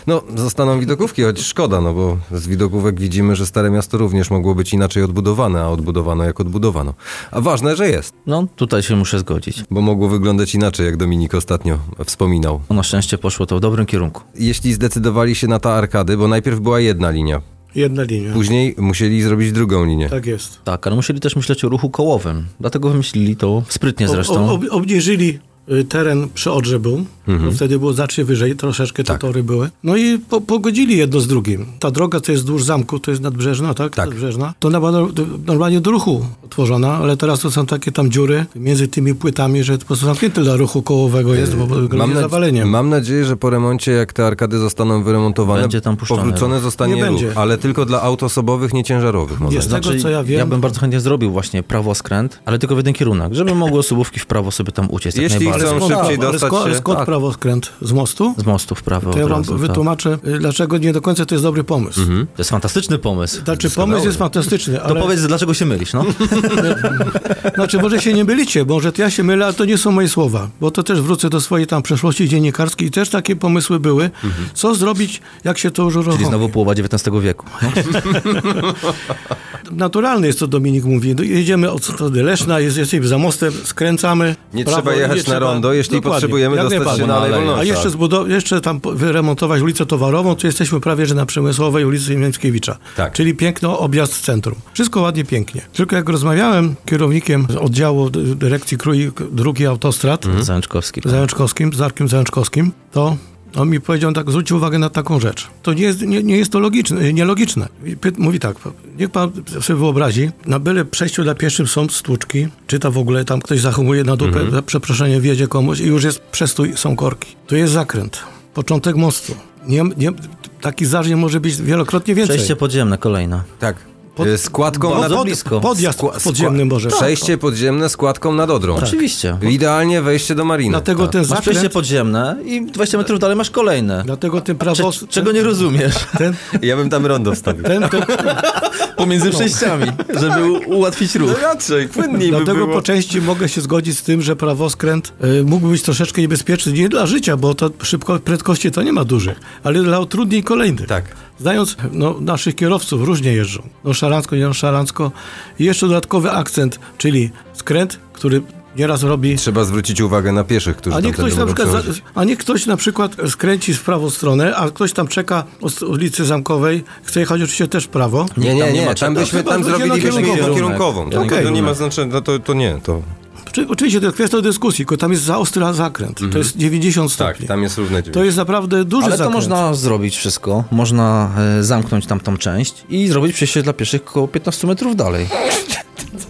[SPEAKER 1] No, zostaną widokówki, choć szkoda, no bo z widokówek widzimy, że Stare Miasto również mogło być inaczej odbudowane, a odbudowano jak odbudowano. A ważne, że jest,
[SPEAKER 2] No, tutaj się muszę zgodzić.
[SPEAKER 1] bo mogło wyglądać inaczej, jak Dominik ostatnio wspominał.
[SPEAKER 2] No, Na szczęście poszło to w dobrym kierunku.
[SPEAKER 1] Jeśli zdecydowali się na ta arkady, bo najpierw była jedna linia,
[SPEAKER 3] Jedna linia.
[SPEAKER 1] później musieli zrobić drugą linię.
[SPEAKER 3] Tak jest.
[SPEAKER 2] Tak, ale musieli też myśleć o ruchu kołowym. Dlatego wymyślili to sprytnie
[SPEAKER 3] Ob,
[SPEAKER 2] zresztą.
[SPEAKER 3] ob, obniżyli y, teren przy Odrze był,
[SPEAKER 1] Mhm.
[SPEAKER 3] bo wtedy było znacznie wyżej, troszeczkę
[SPEAKER 1] Tak.
[SPEAKER 3] te tory były. No i po, pogodzili jedno z drugim. Ta droga, co jest wzdłuż zamku, to jest nadbrzeżna, tak?
[SPEAKER 1] Tak.
[SPEAKER 3] Nadbrzeżna. To ona była no- do- normalnie do ruchu otworzona, ale teraz to są takie tam dziury między tymi płytami, że po prostu zamknięte dla ruchu kołowego jest, bo grozi
[SPEAKER 1] nadz-
[SPEAKER 3] zawaleniem.
[SPEAKER 1] Yy, mam nadzieję, że po remoncie, jak te arkady zostaną wyremontowane,
[SPEAKER 2] Będzie tam no. puszczone.
[SPEAKER 1] powrócone zostanie
[SPEAKER 3] Nie
[SPEAKER 1] ruch,
[SPEAKER 3] będzie.
[SPEAKER 1] ale tylko dla aut osobowych, nie ciężarowych. Mam
[SPEAKER 3] Jest. Z
[SPEAKER 1] nadzieję.
[SPEAKER 3] tego, co ja wiem-
[SPEAKER 2] Znaczy, ja bym bardzo chętnie zrobił właśnie prawoskręt, ale tylko w jeden kierunek, żeby mogły osobówki w prawo sobie tam uciec jak
[SPEAKER 1] Jeśli
[SPEAKER 2] najbardziej.
[SPEAKER 1] chcą
[SPEAKER 3] Skąd-
[SPEAKER 1] szybciej
[SPEAKER 3] ale
[SPEAKER 1] dostać
[SPEAKER 3] skąd,
[SPEAKER 1] się-
[SPEAKER 3] skąd
[SPEAKER 1] tak.
[SPEAKER 3] prawoskręt z mostu?
[SPEAKER 2] Z mostu w prawo
[SPEAKER 3] To ja
[SPEAKER 2] od
[SPEAKER 3] wam
[SPEAKER 2] razu, tak. Mhm.
[SPEAKER 3] wytłumaczę, y, dlaczego nie do końca to jest dobry pomysł.
[SPEAKER 2] To jest fantastyczny pomysł.
[SPEAKER 3] Znaczy,
[SPEAKER 1] Doskonały.
[SPEAKER 3] pomysł jest fantastyczny,
[SPEAKER 2] To
[SPEAKER 3] ale
[SPEAKER 2] powiedz, dlaczego się mylisz, no?
[SPEAKER 3] znaczy, może się nie mylicie, może to ja się mylę, ale to nie są moje słowa, bo to też wrócę do swojej tam przeszłości dzienniekarskiej i też takie pomysły były, co zrobić, jak się to już uruchomi.
[SPEAKER 2] Czyli znowu połowa XIX wieku.
[SPEAKER 3] Naturalne jest, co Dominik mówi. Do- Jedziemy od strony Leszna, jest, jesteśmy za mostem, skręcamy.
[SPEAKER 1] Nie trzeba jechać na rondo, jeśli potrzebujemy
[SPEAKER 3] jak
[SPEAKER 1] dostać
[SPEAKER 3] najbardziej.
[SPEAKER 1] się na Alei
[SPEAKER 3] A
[SPEAKER 1] Wolności.
[SPEAKER 3] jeszcze, zbudow- jeszcze tam po- wyremontować ulicę Towarową, tu jesteśmy prawie, że na Przemysłowej ulicy Mięckiewicza.
[SPEAKER 1] Tak.
[SPEAKER 3] Czyli piękno, objazd centrum. Wszystko ładnie, pięknie. Tylko jak rozmawiałem z kierownikiem z oddziału dy- dyrekcji krój drugi autostrad,
[SPEAKER 1] Mhm.
[SPEAKER 2] Zajączkowski.
[SPEAKER 3] Zajączkowskim, z Darkiem Zajączkowskim, to on mi powiedział tak, zwróć uwagę na taką rzecz. To nie jest, nie, nie jest to logiczne, e, nielogiczne. I py- Mówi tak, niech pan sobie wyobrazi, na byle przejściu dla pieszych są stłuczki, czy to w ogóle tam ktoś zachowuje na dupę,
[SPEAKER 2] Mhm.
[SPEAKER 3] za przeproszenie wjedzie komuś i już jest przestój, są korki. Tu jest zakręt, początek mostu. Nie, nie, taki zarzut może być wielokrotnie więcej.
[SPEAKER 2] Przejście podziemne, kolejne.
[SPEAKER 1] Tak.
[SPEAKER 3] Pod-
[SPEAKER 1] Y, Składką
[SPEAKER 2] Bardzo
[SPEAKER 1] nad...
[SPEAKER 2] bli- blisko.
[SPEAKER 3] Podjazd
[SPEAKER 1] skła- skła-
[SPEAKER 3] podziemny może.
[SPEAKER 1] Przejście podziemne składką nad Odrą.
[SPEAKER 2] Oczywiście.
[SPEAKER 1] Idealnie wejście do mariny. Tak.
[SPEAKER 3] Dlatego ten
[SPEAKER 2] Masz Tak. przejście
[SPEAKER 3] zakręt,
[SPEAKER 2] podziemne i 20 metrów dalej masz kolejne.
[SPEAKER 3] dlatego ten
[SPEAKER 2] Cze-
[SPEAKER 3] prawo...
[SPEAKER 2] czego nie rozumiesz?
[SPEAKER 3] ten,
[SPEAKER 1] Ja bym tam rondo wstawił.
[SPEAKER 3] ten, No. ten,
[SPEAKER 2] Pomiędzy przejściami, żeby u- ułatwić
[SPEAKER 1] No
[SPEAKER 2] ruch.
[SPEAKER 1] raczej, płynniej by
[SPEAKER 3] Dlatego
[SPEAKER 1] było.
[SPEAKER 3] po części mogę się zgodzić z tym, że prawoskręt y, mógł być troszeczkę niebezpieczny nie dla życia, bo to szybko prędkości to nie ma dużych, ale dla utrudnień kolejnych.
[SPEAKER 1] Tak.
[SPEAKER 3] Znając no, naszych kierowców, różnie jeżdżą. No szarancko, nie no szarancko. I jeszcze dodatkowy akcent, czyli skręt, który nieraz robi...
[SPEAKER 1] Trzeba zwrócić uwagę na pieszych, którzy
[SPEAKER 3] A nie,
[SPEAKER 1] tamtędy
[SPEAKER 3] ktoś na
[SPEAKER 1] mogą
[SPEAKER 3] przykład, za,
[SPEAKER 1] przechodzić.
[SPEAKER 3] a nie ktoś na przykład skręci w prawą stronę, a ktoś tam czeka od ulicy Zamkowej, chce jechać oczywiście też w prawo.
[SPEAKER 1] Nie,
[SPEAKER 2] Tam
[SPEAKER 1] nie,
[SPEAKER 2] nie
[SPEAKER 1] nie,
[SPEAKER 2] ma
[SPEAKER 1] tam
[SPEAKER 2] czego.
[SPEAKER 1] byśmy,
[SPEAKER 3] Chyba
[SPEAKER 1] tam
[SPEAKER 3] będzie na
[SPEAKER 1] zrobilibyśmy
[SPEAKER 3] kierunkową.
[SPEAKER 1] kierunkową. To,
[SPEAKER 3] Okej.
[SPEAKER 1] to nie ma znaczenia, no to, to nie, to...
[SPEAKER 3] Oczy- Oczywiście to jest kwestia dyskusji, tylko tam jest za ostry zakręt. To jest 90
[SPEAKER 1] Tak,
[SPEAKER 3] stopni.
[SPEAKER 1] tam jest równe
[SPEAKER 3] To jest naprawdę duży
[SPEAKER 2] Ale to
[SPEAKER 3] zakręt.
[SPEAKER 2] można zrobić wszystko. Można e, zamknąć tamtą część i zrobić przejście dla pieszych około 15 metrów dalej.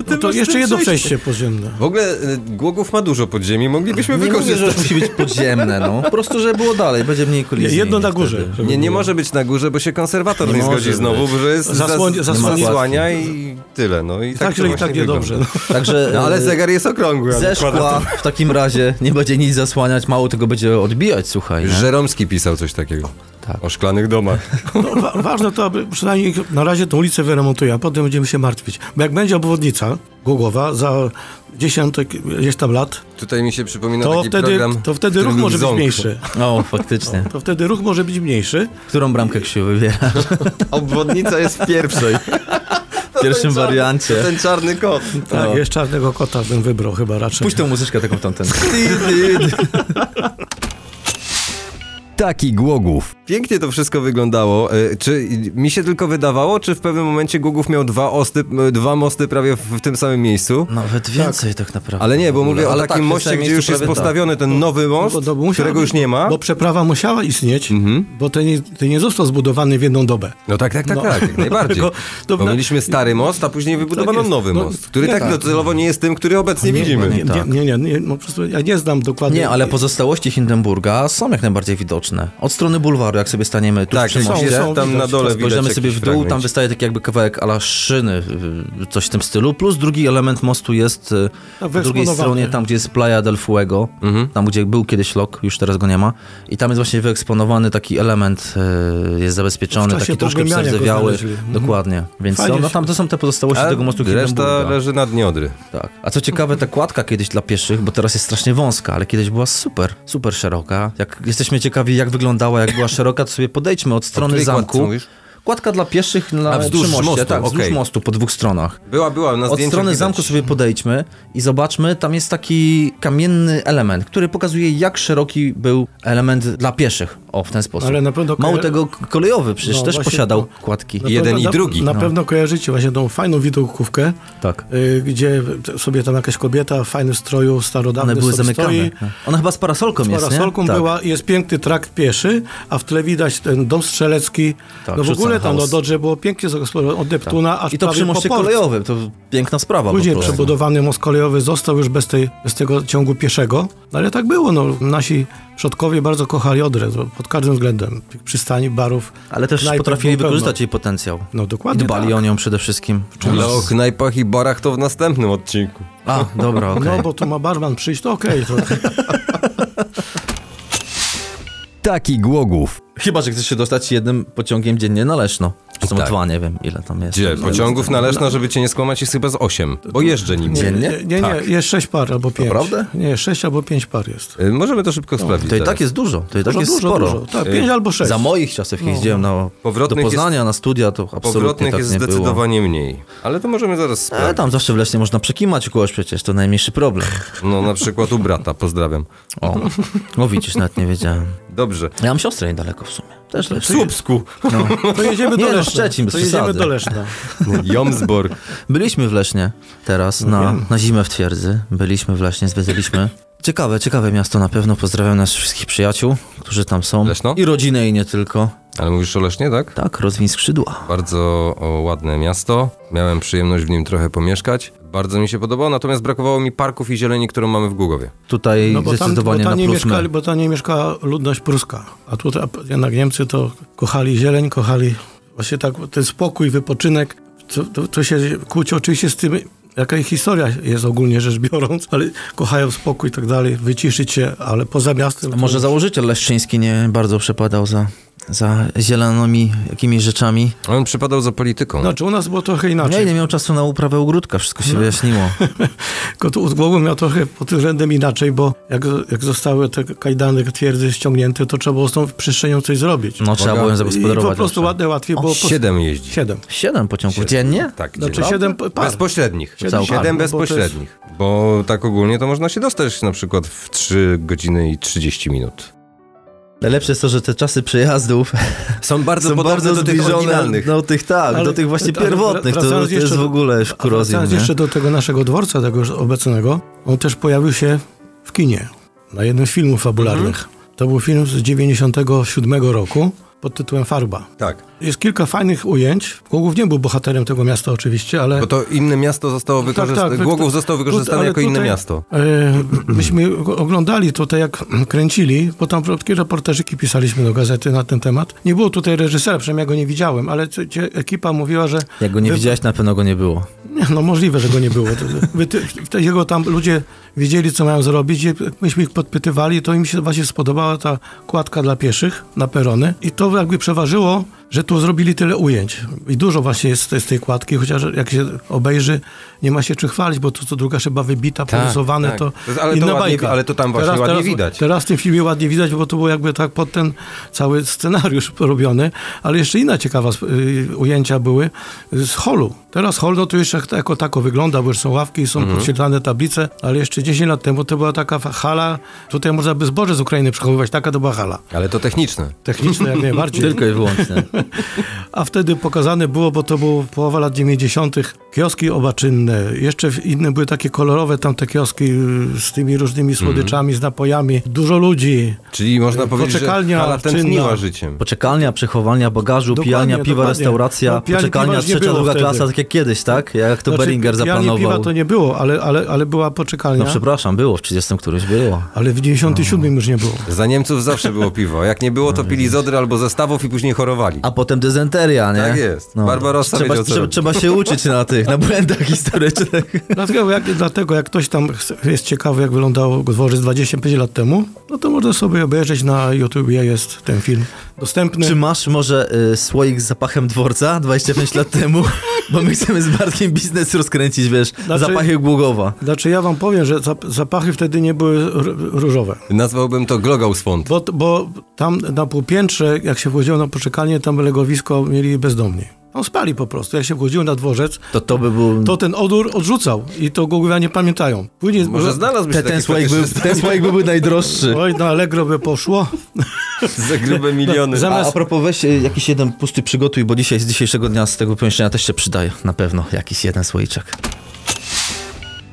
[SPEAKER 3] No to jeszcze jedno przejście podziemne.
[SPEAKER 1] W ogóle y, Głogów ma dużo podziemi, moglibyśmy
[SPEAKER 2] Nie mówię,
[SPEAKER 1] wykorzystać.
[SPEAKER 2] że musi być podziemne, no. Po prostu, żeby było dalej, będzie mniej kolizji.
[SPEAKER 3] Jedno na
[SPEAKER 2] wtedy.
[SPEAKER 3] górze. żeby
[SPEAKER 1] Nie, nie
[SPEAKER 3] było.
[SPEAKER 1] może być na górze, bo się konserwator nie,
[SPEAKER 2] Nie może
[SPEAKER 1] zgodzi
[SPEAKER 2] być.
[SPEAKER 1] znowu, bo że jest
[SPEAKER 3] Zasłoń-
[SPEAKER 1] zas-
[SPEAKER 3] zasłania.
[SPEAKER 1] zasłania i tyle. No i tak,
[SPEAKER 3] Tak,
[SPEAKER 1] to
[SPEAKER 3] źle i
[SPEAKER 1] właśnie
[SPEAKER 3] tak niedobrze.
[SPEAKER 1] wygląda.
[SPEAKER 2] Także
[SPEAKER 1] No, ale
[SPEAKER 2] e,
[SPEAKER 1] zegar jest okrągły. a nie
[SPEAKER 2] Ze
[SPEAKER 1] kwadratowy.
[SPEAKER 2] szkła w takim razie nie będzie nic zasłaniać, mało tego będzie odbijać, słuchaj. Nie?
[SPEAKER 1] Żeromski pisał coś takiego.
[SPEAKER 2] tak.
[SPEAKER 1] O szklanych domach.
[SPEAKER 3] No, wa- ważne to, aby przynajmniej na razie tą ulicę wyremontuję, a potem będziemy się martwić. Bo jak będzie obwod- obwodnica Głogowa za dziesiątek gdzieś tam lat,
[SPEAKER 1] Tutaj mi się przypomina
[SPEAKER 3] to
[SPEAKER 1] taki
[SPEAKER 3] wtedy,
[SPEAKER 1] program...
[SPEAKER 3] to
[SPEAKER 1] w
[SPEAKER 3] wtedy
[SPEAKER 1] którym
[SPEAKER 3] ruch
[SPEAKER 1] był
[SPEAKER 3] może być
[SPEAKER 1] ząb.
[SPEAKER 3] mniejszy.
[SPEAKER 2] O, faktycznie.
[SPEAKER 3] To wtedy ruch może być mniejszy.
[SPEAKER 2] Którą bramkę Krzysiu wybiera
[SPEAKER 1] Obwodnica jest w pierwszej.
[SPEAKER 2] w pierwszym
[SPEAKER 1] To
[SPEAKER 2] wariancie?
[SPEAKER 1] ten czarny kot.
[SPEAKER 3] Tak,
[SPEAKER 2] No.
[SPEAKER 3] jeszcze czarnego kota bym wybrał chyba raczej.
[SPEAKER 2] Puść tą muzyczkę taką tamten.
[SPEAKER 4] Taki Głogów.
[SPEAKER 1] Pięknie to wszystko wyglądało. E, Czy mi się tylko wydawało, czy w pewnym momencie Gugów miał dwa, osty, e, dwa mosty prawie w, w tym samym miejscu?
[SPEAKER 2] Nawet więcej tak, naprawdę.
[SPEAKER 1] Ale nie, bo
[SPEAKER 2] w ogóle.
[SPEAKER 1] mówię o
[SPEAKER 2] Ale
[SPEAKER 1] takim
[SPEAKER 2] tak, w
[SPEAKER 1] moście,
[SPEAKER 2] samym
[SPEAKER 1] gdzie już
[SPEAKER 2] miejscu
[SPEAKER 1] jest
[SPEAKER 2] prawie tak.
[SPEAKER 1] postawiony ten nowy most,
[SPEAKER 3] No, no, bo musiał
[SPEAKER 1] którego
[SPEAKER 3] być,
[SPEAKER 1] już nie ma. Mhm.
[SPEAKER 3] Bo przeprawa musiała istnieć, bo ten nie, ten nie został zbudowany w jedną dobę.
[SPEAKER 1] No tak, tak, tak,
[SPEAKER 3] No.
[SPEAKER 1] tak, jak najbardziej.
[SPEAKER 3] Tylko- to-
[SPEAKER 1] Bo mieliśmy stary most, a później
[SPEAKER 2] tak
[SPEAKER 1] wybudowano
[SPEAKER 3] jest.
[SPEAKER 1] nowy
[SPEAKER 3] No,
[SPEAKER 1] most, który
[SPEAKER 3] nie
[SPEAKER 1] tak
[SPEAKER 3] tak.
[SPEAKER 1] docelowo nie jest tym, który obecnie widzimy.
[SPEAKER 2] nie.
[SPEAKER 3] Nie,
[SPEAKER 2] tak.
[SPEAKER 3] nie, nie, nie, no, po prostu ja nie znam dokładnie.
[SPEAKER 2] Nie, ale pozostałości Hindenburga są jak najbardziej widoczne. Od strony bulwaru, jak sobie staniemy tu
[SPEAKER 1] Tak,
[SPEAKER 2] przy
[SPEAKER 1] są,
[SPEAKER 2] moście,
[SPEAKER 1] są, tam na dole widać
[SPEAKER 2] spojrzymy
[SPEAKER 1] jakiś
[SPEAKER 2] sobie w dół,
[SPEAKER 1] fragmencik.
[SPEAKER 2] tam wystaje taki jakby kawałek ala szyny, y, coś w tym stylu, plus drugi element mostu jest y,
[SPEAKER 3] Tak,
[SPEAKER 2] po drugiej
[SPEAKER 3] wyeksponowany.
[SPEAKER 2] stronie, tam gdzie jest Playa del Fuego,
[SPEAKER 1] Mhm.
[SPEAKER 2] tam gdzie był kiedyś lok, już teraz go nie ma i tam jest właśnie wyeksponowany taki element, y,
[SPEAKER 3] W
[SPEAKER 2] jest zabezpieczony,
[SPEAKER 3] czasie
[SPEAKER 2] taki troszkę
[SPEAKER 3] pogłębiania go
[SPEAKER 2] przerdzewiały,
[SPEAKER 3] znaleźli. Mhm.
[SPEAKER 2] dokładnie, więc
[SPEAKER 3] Fajnie
[SPEAKER 2] są, no,
[SPEAKER 3] się-
[SPEAKER 2] tam to są te pozostałości
[SPEAKER 1] A
[SPEAKER 2] tego mostu
[SPEAKER 1] reszta
[SPEAKER 2] Hindenburga.
[SPEAKER 1] leży na dnie Odry.
[SPEAKER 2] Tak. A co ciekawe, ta kładka kiedyś dla pieszych, bo teraz jest strasznie wąska, ale kiedyś była super, super szeroka. Jak jesteśmy ciekawi, jak wyglądała, jak była szeroka, to sobie podejdźmy od strony
[SPEAKER 1] której kładce
[SPEAKER 2] zamku.
[SPEAKER 1] mówisz?
[SPEAKER 2] Kładka dla pieszych na
[SPEAKER 1] A, wzdłuż
[SPEAKER 2] przy moście,
[SPEAKER 1] mostu,
[SPEAKER 2] tak, wzdłuż
[SPEAKER 1] okej.
[SPEAKER 2] mostu po dwóch stronach.
[SPEAKER 1] Była, była, na
[SPEAKER 2] Od
[SPEAKER 1] zdjęciach
[SPEAKER 2] strony
[SPEAKER 1] widać.
[SPEAKER 2] zamku sobie podejdźmy i zobaczmy, tam jest taki kamienny element, który pokazuje, jak szeroki był element dla pieszych. O, w ten sposób.
[SPEAKER 3] Ale na pewno-
[SPEAKER 2] Mało tego, k- kolejowy przecież
[SPEAKER 3] No,
[SPEAKER 2] też
[SPEAKER 3] właśnie
[SPEAKER 2] posiadał
[SPEAKER 3] to-
[SPEAKER 2] kładki.
[SPEAKER 3] Na
[SPEAKER 1] jeden
[SPEAKER 3] pewno-
[SPEAKER 1] i
[SPEAKER 3] na-
[SPEAKER 1] drugi,
[SPEAKER 3] Na
[SPEAKER 2] no.
[SPEAKER 3] pewno kojarzycie właśnie tą fajną widokówkę,
[SPEAKER 2] Tak.
[SPEAKER 3] y, gdzie sobie tam jakaś kobieta w fajnym stroju starodawny
[SPEAKER 2] One były
[SPEAKER 3] sobie
[SPEAKER 2] zamykane.
[SPEAKER 3] stoi.
[SPEAKER 2] Ona chyba z parasolką
[SPEAKER 3] Z
[SPEAKER 2] jest, nie?
[SPEAKER 3] parasolką
[SPEAKER 2] Tak.
[SPEAKER 3] była, jest piękny trakt pieszy, a w tle widać ten dom strzelecki.
[SPEAKER 2] Tak,
[SPEAKER 3] no w ogóle
[SPEAKER 2] Schützenhaus.
[SPEAKER 3] tam no, Dodrze było pięknie zagospodarowane od Neptuna aż
[SPEAKER 2] I to przy
[SPEAKER 3] prawie po
[SPEAKER 2] moście
[SPEAKER 3] port.
[SPEAKER 2] kolejowym, to piękna sprawa.
[SPEAKER 3] Później
[SPEAKER 2] po prostu.
[SPEAKER 3] przebudowany most kolejowy został już bez, tej, bez tego ciągu pieszego, no ale tak było. No. Nasi przodkowie bardzo kochali Odrę no, pod każdym względem. Tych Przystani, barów.
[SPEAKER 2] Ale też
[SPEAKER 3] knajp było
[SPEAKER 2] potrafili
[SPEAKER 3] pełno.
[SPEAKER 2] wykorzystać jej potencjał.
[SPEAKER 3] No
[SPEAKER 2] I
[SPEAKER 3] dokładnie.
[SPEAKER 2] dbali o nią przede wszystkim.
[SPEAKER 1] Ale o knajpach i barach to w następnym odcinku.
[SPEAKER 2] A, dobra, okej.
[SPEAKER 3] No bo tu ma barman przyjść, to okej. to-
[SPEAKER 4] Taki Głogów.
[SPEAKER 2] Chyba, że chcesz się dostać jednym pociągiem dziennie na Leszno. Są
[SPEAKER 1] Tak.
[SPEAKER 2] dwa, nie wiem ile tam jest.
[SPEAKER 1] Gdzie? Pociągów na Leszno, żeby cię nie skłamać, jest chyba z osiem, bo jeżdżę nim.
[SPEAKER 2] Nie. Dziennie?
[SPEAKER 3] Nie, nie,
[SPEAKER 1] Tak.
[SPEAKER 3] jest sześć par albo pięć.
[SPEAKER 2] Naprawdę?
[SPEAKER 3] Nie, sześć albo pięć par jest.
[SPEAKER 1] Y, Możemy to szybko sprawdzić.
[SPEAKER 2] To i
[SPEAKER 1] zaraz.
[SPEAKER 2] tak jest dużo, to i tak
[SPEAKER 3] Dużo,
[SPEAKER 2] jest
[SPEAKER 3] dużo,
[SPEAKER 2] sporo.
[SPEAKER 3] dużo. No. Tak, pięć albo sześć.
[SPEAKER 2] Za moich czasów, jak jeździłem na, do
[SPEAKER 1] Powrotnych
[SPEAKER 2] Poznania na studia, to absolutnie
[SPEAKER 1] Powrotnych
[SPEAKER 2] tak
[SPEAKER 1] jest
[SPEAKER 2] nie było.
[SPEAKER 1] zdecydowanie mniej. Ale to możemy zaraz
[SPEAKER 2] Ale
[SPEAKER 1] sprawdzić.
[SPEAKER 2] tam zawsze w Lesznie można przekimać kogoś przecież, to najmniejszy problem.
[SPEAKER 4] tak.
[SPEAKER 1] No na przykład u brata, pozdrawiam.
[SPEAKER 2] O, no widzisz, nawet nie wiedziałem.
[SPEAKER 1] Dobrze.
[SPEAKER 2] Ja mam siostrę niedaleko w sumie. Też
[SPEAKER 1] W
[SPEAKER 2] Leszno.
[SPEAKER 1] Słupsku.
[SPEAKER 3] To jedziemy
[SPEAKER 2] Nie,
[SPEAKER 3] do
[SPEAKER 2] no,
[SPEAKER 3] Leszna.
[SPEAKER 2] Szczecin, bez
[SPEAKER 3] to jedziemy
[SPEAKER 2] przesady.
[SPEAKER 3] do Leszna.
[SPEAKER 1] Jomsborg.
[SPEAKER 2] Byliśmy w Lesznie teraz na, na zimę w twierdzy. Byliśmy w Lesznie, zwiedzaliśmy. Ciekawe, ciekawe miasto na pewno. Pozdrawiam naszych wszystkich przyjaciół, którzy tam są.
[SPEAKER 1] Leszno?
[SPEAKER 2] I rodzinę i nie tylko.
[SPEAKER 1] Ale mówisz o Lesznie, tak?
[SPEAKER 2] Tak, rozwiń skrzydła.
[SPEAKER 1] Bardzo o, ładne miasto. Miałem przyjemność w nim trochę pomieszkać. Bardzo mi się podobało, natomiast brakowało mi parków i zieleni, którą mamy w Głogowie.
[SPEAKER 2] Tutaj
[SPEAKER 3] No bo tam, bo
[SPEAKER 2] zdecydowanie
[SPEAKER 3] tam, nie
[SPEAKER 2] na plus
[SPEAKER 3] mieszkali,
[SPEAKER 2] my.
[SPEAKER 3] bo tam nie mieszka ludność pruska. A tutaj a jednak Niemcy to kochali zieleń, kochali właśnie tak ten spokój, wypoczynek. To, to, to się kłóci oczywiście z tym, jaka ich historia jest ogólnie rzecz biorąc, ale kochają spokój i tak dalej, wyciszyć się, ale poza miastem...
[SPEAKER 2] A
[SPEAKER 3] to-
[SPEAKER 2] Może założyciel leszczyński nie bardzo przepadał za, za zielonymi jakimiś rzeczami.
[SPEAKER 1] A On przypadał za polityką.
[SPEAKER 3] Znaczy u nas było trochę
[SPEAKER 2] Nie,
[SPEAKER 3] inaczej.
[SPEAKER 2] nie miał czasu na uprawę ogródka, wszystko
[SPEAKER 3] No.
[SPEAKER 2] się wyjaśniło.
[SPEAKER 3] Tylko tu z głową miał trochę pod tym względem inaczej, bo jak, jak zostały te kajdany twierdzy ściągnięte, to trzeba było z tą przestrzenią coś zrobić.
[SPEAKER 2] No trzeba było ją
[SPEAKER 3] I
[SPEAKER 2] zagospodarować.
[SPEAKER 3] po prostu
[SPEAKER 2] zawsze.
[SPEAKER 3] ładnie, łatwiej było... po-
[SPEAKER 1] Siedem jeździ.
[SPEAKER 3] Siedem.
[SPEAKER 2] Siedem pociągów dziennie?
[SPEAKER 1] Tak,
[SPEAKER 3] Znaczy
[SPEAKER 1] dziennie.
[SPEAKER 3] siedem par.
[SPEAKER 1] Bezpośrednich.
[SPEAKER 3] Siedem
[SPEAKER 1] Siedem
[SPEAKER 2] par.
[SPEAKER 1] bezpośrednich. Bo tak ogólnie to można się dostać na przykład w 3 godziny i 30 minut.
[SPEAKER 2] Najlepsze jest to, że te czasy przejazdów
[SPEAKER 1] Są bardzo No.
[SPEAKER 2] są bardzo No zbliżone do tych tak,
[SPEAKER 3] Ale-
[SPEAKER 2] do tych właśnie
[SPEAKER 3] ale
[SPEAKER 2] pierwotnych, to, to
[SPEAKER 3] wracając
[SPEAKER 2] jest
[SPEAKER 3] jeszcze
[SPEAKER 2] w
[SPEAKER 3] do-
[SPEAKER 2] ogóle
[SPEAKER 3] A Wracając
[SPEAKER 2] kurozja,
[SPEAKER 3] jeszcze do tego naszego dworca, tego już obecnego, on też pojawił się w kinie, na jednym z filmów fabularnych.
[SPEAKER 1] Mhm.
[SPEAKER 3] To był film z 97 roku pod tytułem Farba.
[SPEAKER 1] Tak.
[SPEAKER 3] Jest kilka fajnych ujęć. Głogów nie był bohaterem tego miasta oczywiście, ale...
[SPEAKER 1] Bo to inne miasto zostało wykorzystane.
[SPEAKER 3] tak, wy-
[SPEAKER 1] Głogów został wykorzystany
[SPEAKER 3] ale
[SPEAKER 1] jako inne
[SPEAKER 3] tutaj-
[SPEAKER 1] miasto.
[SPEAKER 3] E, myśmy go- oglądali tutaj, jak kręcili, bo tam krótkie reportażyki pisaliśmy do gazety na ten temat. Nie było tutaj reżysera, przynajmniej ja go nie widziałem, ale c- cie- ekipa mówiła, że
[SPEAKER 2] Jak go nie
[SPEAKER 3] Wy-
[SPEAKER 2] widziałeś, na pewno go nie było.
[SPEAKER 3] Nie, No możliwe, że go nie było. To- Wy, ty, te- jego tam ludzie wiedzieli, co mają zrobić. Jak Myśmy ich podpytywali, to im się właśnie spodobała ta kładka dla pieszych na perony. I to jakby przeważyło że tu zrobili tyle ujęć. I dużo właśnie jest z tej, z tej kładki, chociaż jak się obejrzy, nie ma się czym chwalić, bo to, to druga szyba wybita,
[SPEAKER 1] Tak,
[SPEAKER 3] porysowane,
[SPEAKER 1] tak.
[SPEAKER 3] to
[SPEAKER 1] To- ale to
[SPEAKER 3] inna
[SPEAKER 1] ładnie-
[SPEAKER 3] bajka.
[SPEAKER 1] ale to tam właśnie ładnie widać.
[SPEAKER 3] Teraz w tym filmie ładnie widać, bo to było jakby tak pod ten cały scenariusz robiony, ale jeszcze inna ciekawa sp- y, ujęcia były z holu. Teraz hol, no to jeszcze tak- jako tako wygląda, bo już są ławki, są podświetlane tablice, ale jeszcze 10 lat temu to była taka fa- hala, tutaj można by zboże z Ukrainy przechowywać, taka to była hala.
[SPEAKER 1] Ale to techniczne.
[SPEAKER 3] Techniczne jak najbardziej.
[SPEAKER 2] Tylko i wyłącznie.
[SPEAKER 3] A wtedy pokazane było, bo to było połowa lat 90., kioski obaczynne. Jeszcze w- inne były takie kolorowe tamte kioski y, z tymi różnymi słodyczami, z napojami. Dużo ludzi.
[SPEAKER 1] Czyli można powiedzieć, że
[SPEAKER 3] Poczekalnia
[SPEAKER 1] hala tętniła
[SPEAKER 3] czynna.
[SPEAKER 1] życiem.
[SPEAKER 2] Poczekalnia, przechowania bagażu,
[SPEAKER 3] Dokładnie,
[SPEAKER 2] pijania, piwa,
[SPEAKER 3] dokładnie.
[SPEAKER 2] restauracja,
[SPEAKER 3] No, pijanie, piwa
[SPEAKER 2] poczekalnia
[SPEAKER 3] już nie
[SPEAKER 2] trzecia,
[SPEAKER 3] było
[SPEAKER 2] druga
[SPEAKER 3] wtedy.
[SPEAKER 2] klasa, tak jak kiedyś, tak? Jak to
[SPEAKER 3] Znaczy,
[SPEAKER 2] Beringer
[SPEAKER 3] pijanie
[SPEAKER 2] zaplanował.
[SPEAKER 3] piwa to nie było, ale, ale, ale była poczekalnia.
[SPEAKER 2] No przepraszam, No. było, w 30 któryś było.
[SPEAKER 3] ale w 97 już nie było.
[SPEAKER 1] Za Niemców zawsze było piwo. Jak nie było, to pili zodry albo zestawów i później chorowali.
[SPEAKER 2] A potem dysenteria, nie? No.
[SPEAKER 1] Tak jest. Barbarossa
[SPEAKER 2] trzeba,
[SPEAKER 1] wiedział, co
[SPEAKER 2] trzeba,
[SPEAKER 1] robi.
[SPEAKER 2] trzeba się uczyć na tych, na błędach historycznych.
[SPEAKER 3] Dlatego jak, dlatego jak ktoś tam chce- jest ciekawy, jak wyglądał dworzec 25 lat temu, no to można sobie obejrzeć na YouTubie, jest ten film dostępny.
[SPEAKER 2] Czy masz może y, słoik z zapachem dworca 25 lat temu? Bo my chcemy z Bartkiem biznes rozkręcić, wiesz,
[SPEAKER 3] Znaczy-
[SPEAKER 2] zapachy Głogowa.
[SPEAKER 3] Znaczy ja wam powiem, że zap- zapachy wtedy nie były r- różowe.
[SPEAKER 1] Nazwałbym to Glogausfond.
[SPEAKER 3] Bo, bo tam na półpiętrze, jak się wchodziło na poczekalnię, tam legowisko mieli bezdomni. Tam spali po prostu. Jak się wchodziło na dworzec,
[SPEAKER 2] To to by był...
[SPEAKER 3] to ten odór odrzucał i to Google nie pamiętają. Później
[SPEAKER 1] Może znalazłbyś
[SPEAKER 2] te,
[SPEAKER 1] taki
[SPEAKER 2] ten, słoik był,
[SPEAKER 1] fetyszysta
[SPEAKER 2] ten słoik by był najdroższy.
[SPEAKER 3] Oj, na Allegro by poszło.
[SPEAKER 1] za
[SPEAKER 2] no,
[SPEAKER 1] grube miliony.
[SPEAKER 3] Zamiast-
[SPEAKER 2] A, a propos, weź y, jakiś jeden pusty przygotuj, bo dzisiaj z dzisiejszego dnia z tego pomieszczenia też się przydaje. Na pewno jakiś jeden słoiczek.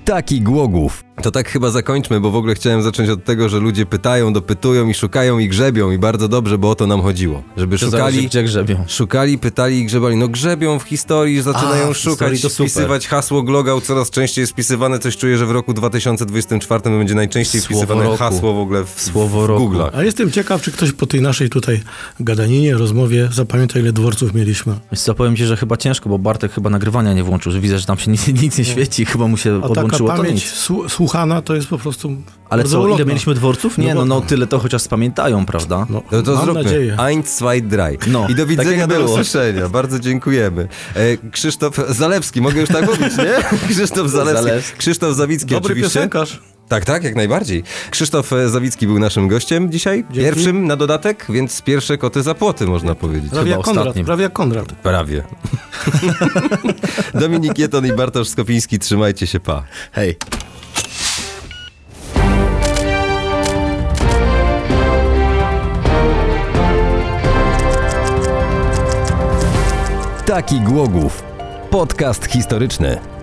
[SPEAKER 4] Taki Głogów.
[SPEAKER 1] To tak chyba zakończmy, bo w ogóle chciałem zacząć od tego, że ludzie pytają, dopytują i szukają i grzebią i bardzo dobrze, bo o to nam chodziło. Żeby
[SPEAKER 2] To zależy,
[SPEAKER 1] szukali,
[SPEAKER 2] gdzie grzebią.
[SPEAKER 1] szukali, pytali i grzebali. No grzebią w historii, zaczynają
[SPEAKER 2] A, w
[SPEAKER 1] szukać,
[SPEAKER 2] historii to super.
[SPEAKER 1] wpisywać hasło Glogał coraz częściej jest wpisywane. Coś czuję, że w roku 2024 będzie najczęściej
[SPEAKER 2] Słowo
[SPEAKER 1] wpisywane
[SPEAKER 2] roku.
[SPEAKER 1] hasło w ogóle w,
[SPEAKER 2] Słowo
[SPEAKER 1] w
[SPEAKER 2] roku.
[SPEAKER 1] Google'ach.
[SPEAKER 3] A jestem ciekaw, czy ktoś po tej naszej tutaj gadaninie, rozmowie zapamięta, ile dworców mieliśmy.
[SPEAKER 2] Więc co, powiem ci, że chyba ciężko, bo Bartek chyba nagrywania nie włączył. że Widzę, że tam się nic, nic nie świeci, chyba mu się
[SPEAKER 3] A taka
[SPEAKER 2] odłączyło to
[SPEAKER 3] pamięć
[SPEAKER 2] nic.
[SPEAKER 3] słu- słuchana to jest po prostu
[SPEAKER 2] Ale
[SPEAKER 3] bardzo
[SPEAKER 2] co, ile
[SPEAKER 3] ulotna.
[SPEAKER 2] mieliśmy dworców? Nie, no, no tyle to chociaż spamiętają, prawda?
[SPEAKER 3] No,
[SPEAKER 1] No to
[SPEAKER 3] mam
[SPEAKER 1] zróbmy.
[SPEAKER 3] nadzieję.
[SPEAKER 1] Eins, zwei, drei.
[SPEAKER 2] No,
[SPEAKER 1] I do
[SPEAKER 2] tak
[SPEAKER 1] widzenia,
[SPEAKER 2] jak
[SPEAKER 1] do
[SPEAKER 2] było.
[SPEAKER 1] usłyszenia. Bardzo dziękujemy. E, Krzysztof Zalewski, mogę już tak mówić, nie? Krzysztof Zalewski.
[SPEAKER 2] Zalewski.
[SPEAKER 1] Krzysztof Zawicki
[SPEAKER 3] Dobry
[SPEAKER 1] oczywiście.
[SPEAKER 3] piosenkarz.
[SPEAKER 1] Tak, tak, jak najbardziej. Krzysztof e, Zawicki był naszym gościem dzisiaj, pierwszym na dodatek, więc pierwsze koty za płoty, można powiedzieć.
[SPEAKER 3] Prawie jak, Konrad,
[SPEAKER 2] ostatnim.
[SPEAKER 3] prawie jak Konrad.
[SPEAKER 1] Prawie. Dominik Jeton i Bartosz Skopiński, trzymajcie się, pa.
[SPEAKER 2] Hej.
[SPEAKER 4] Taki Głogów. Podcast historyczny.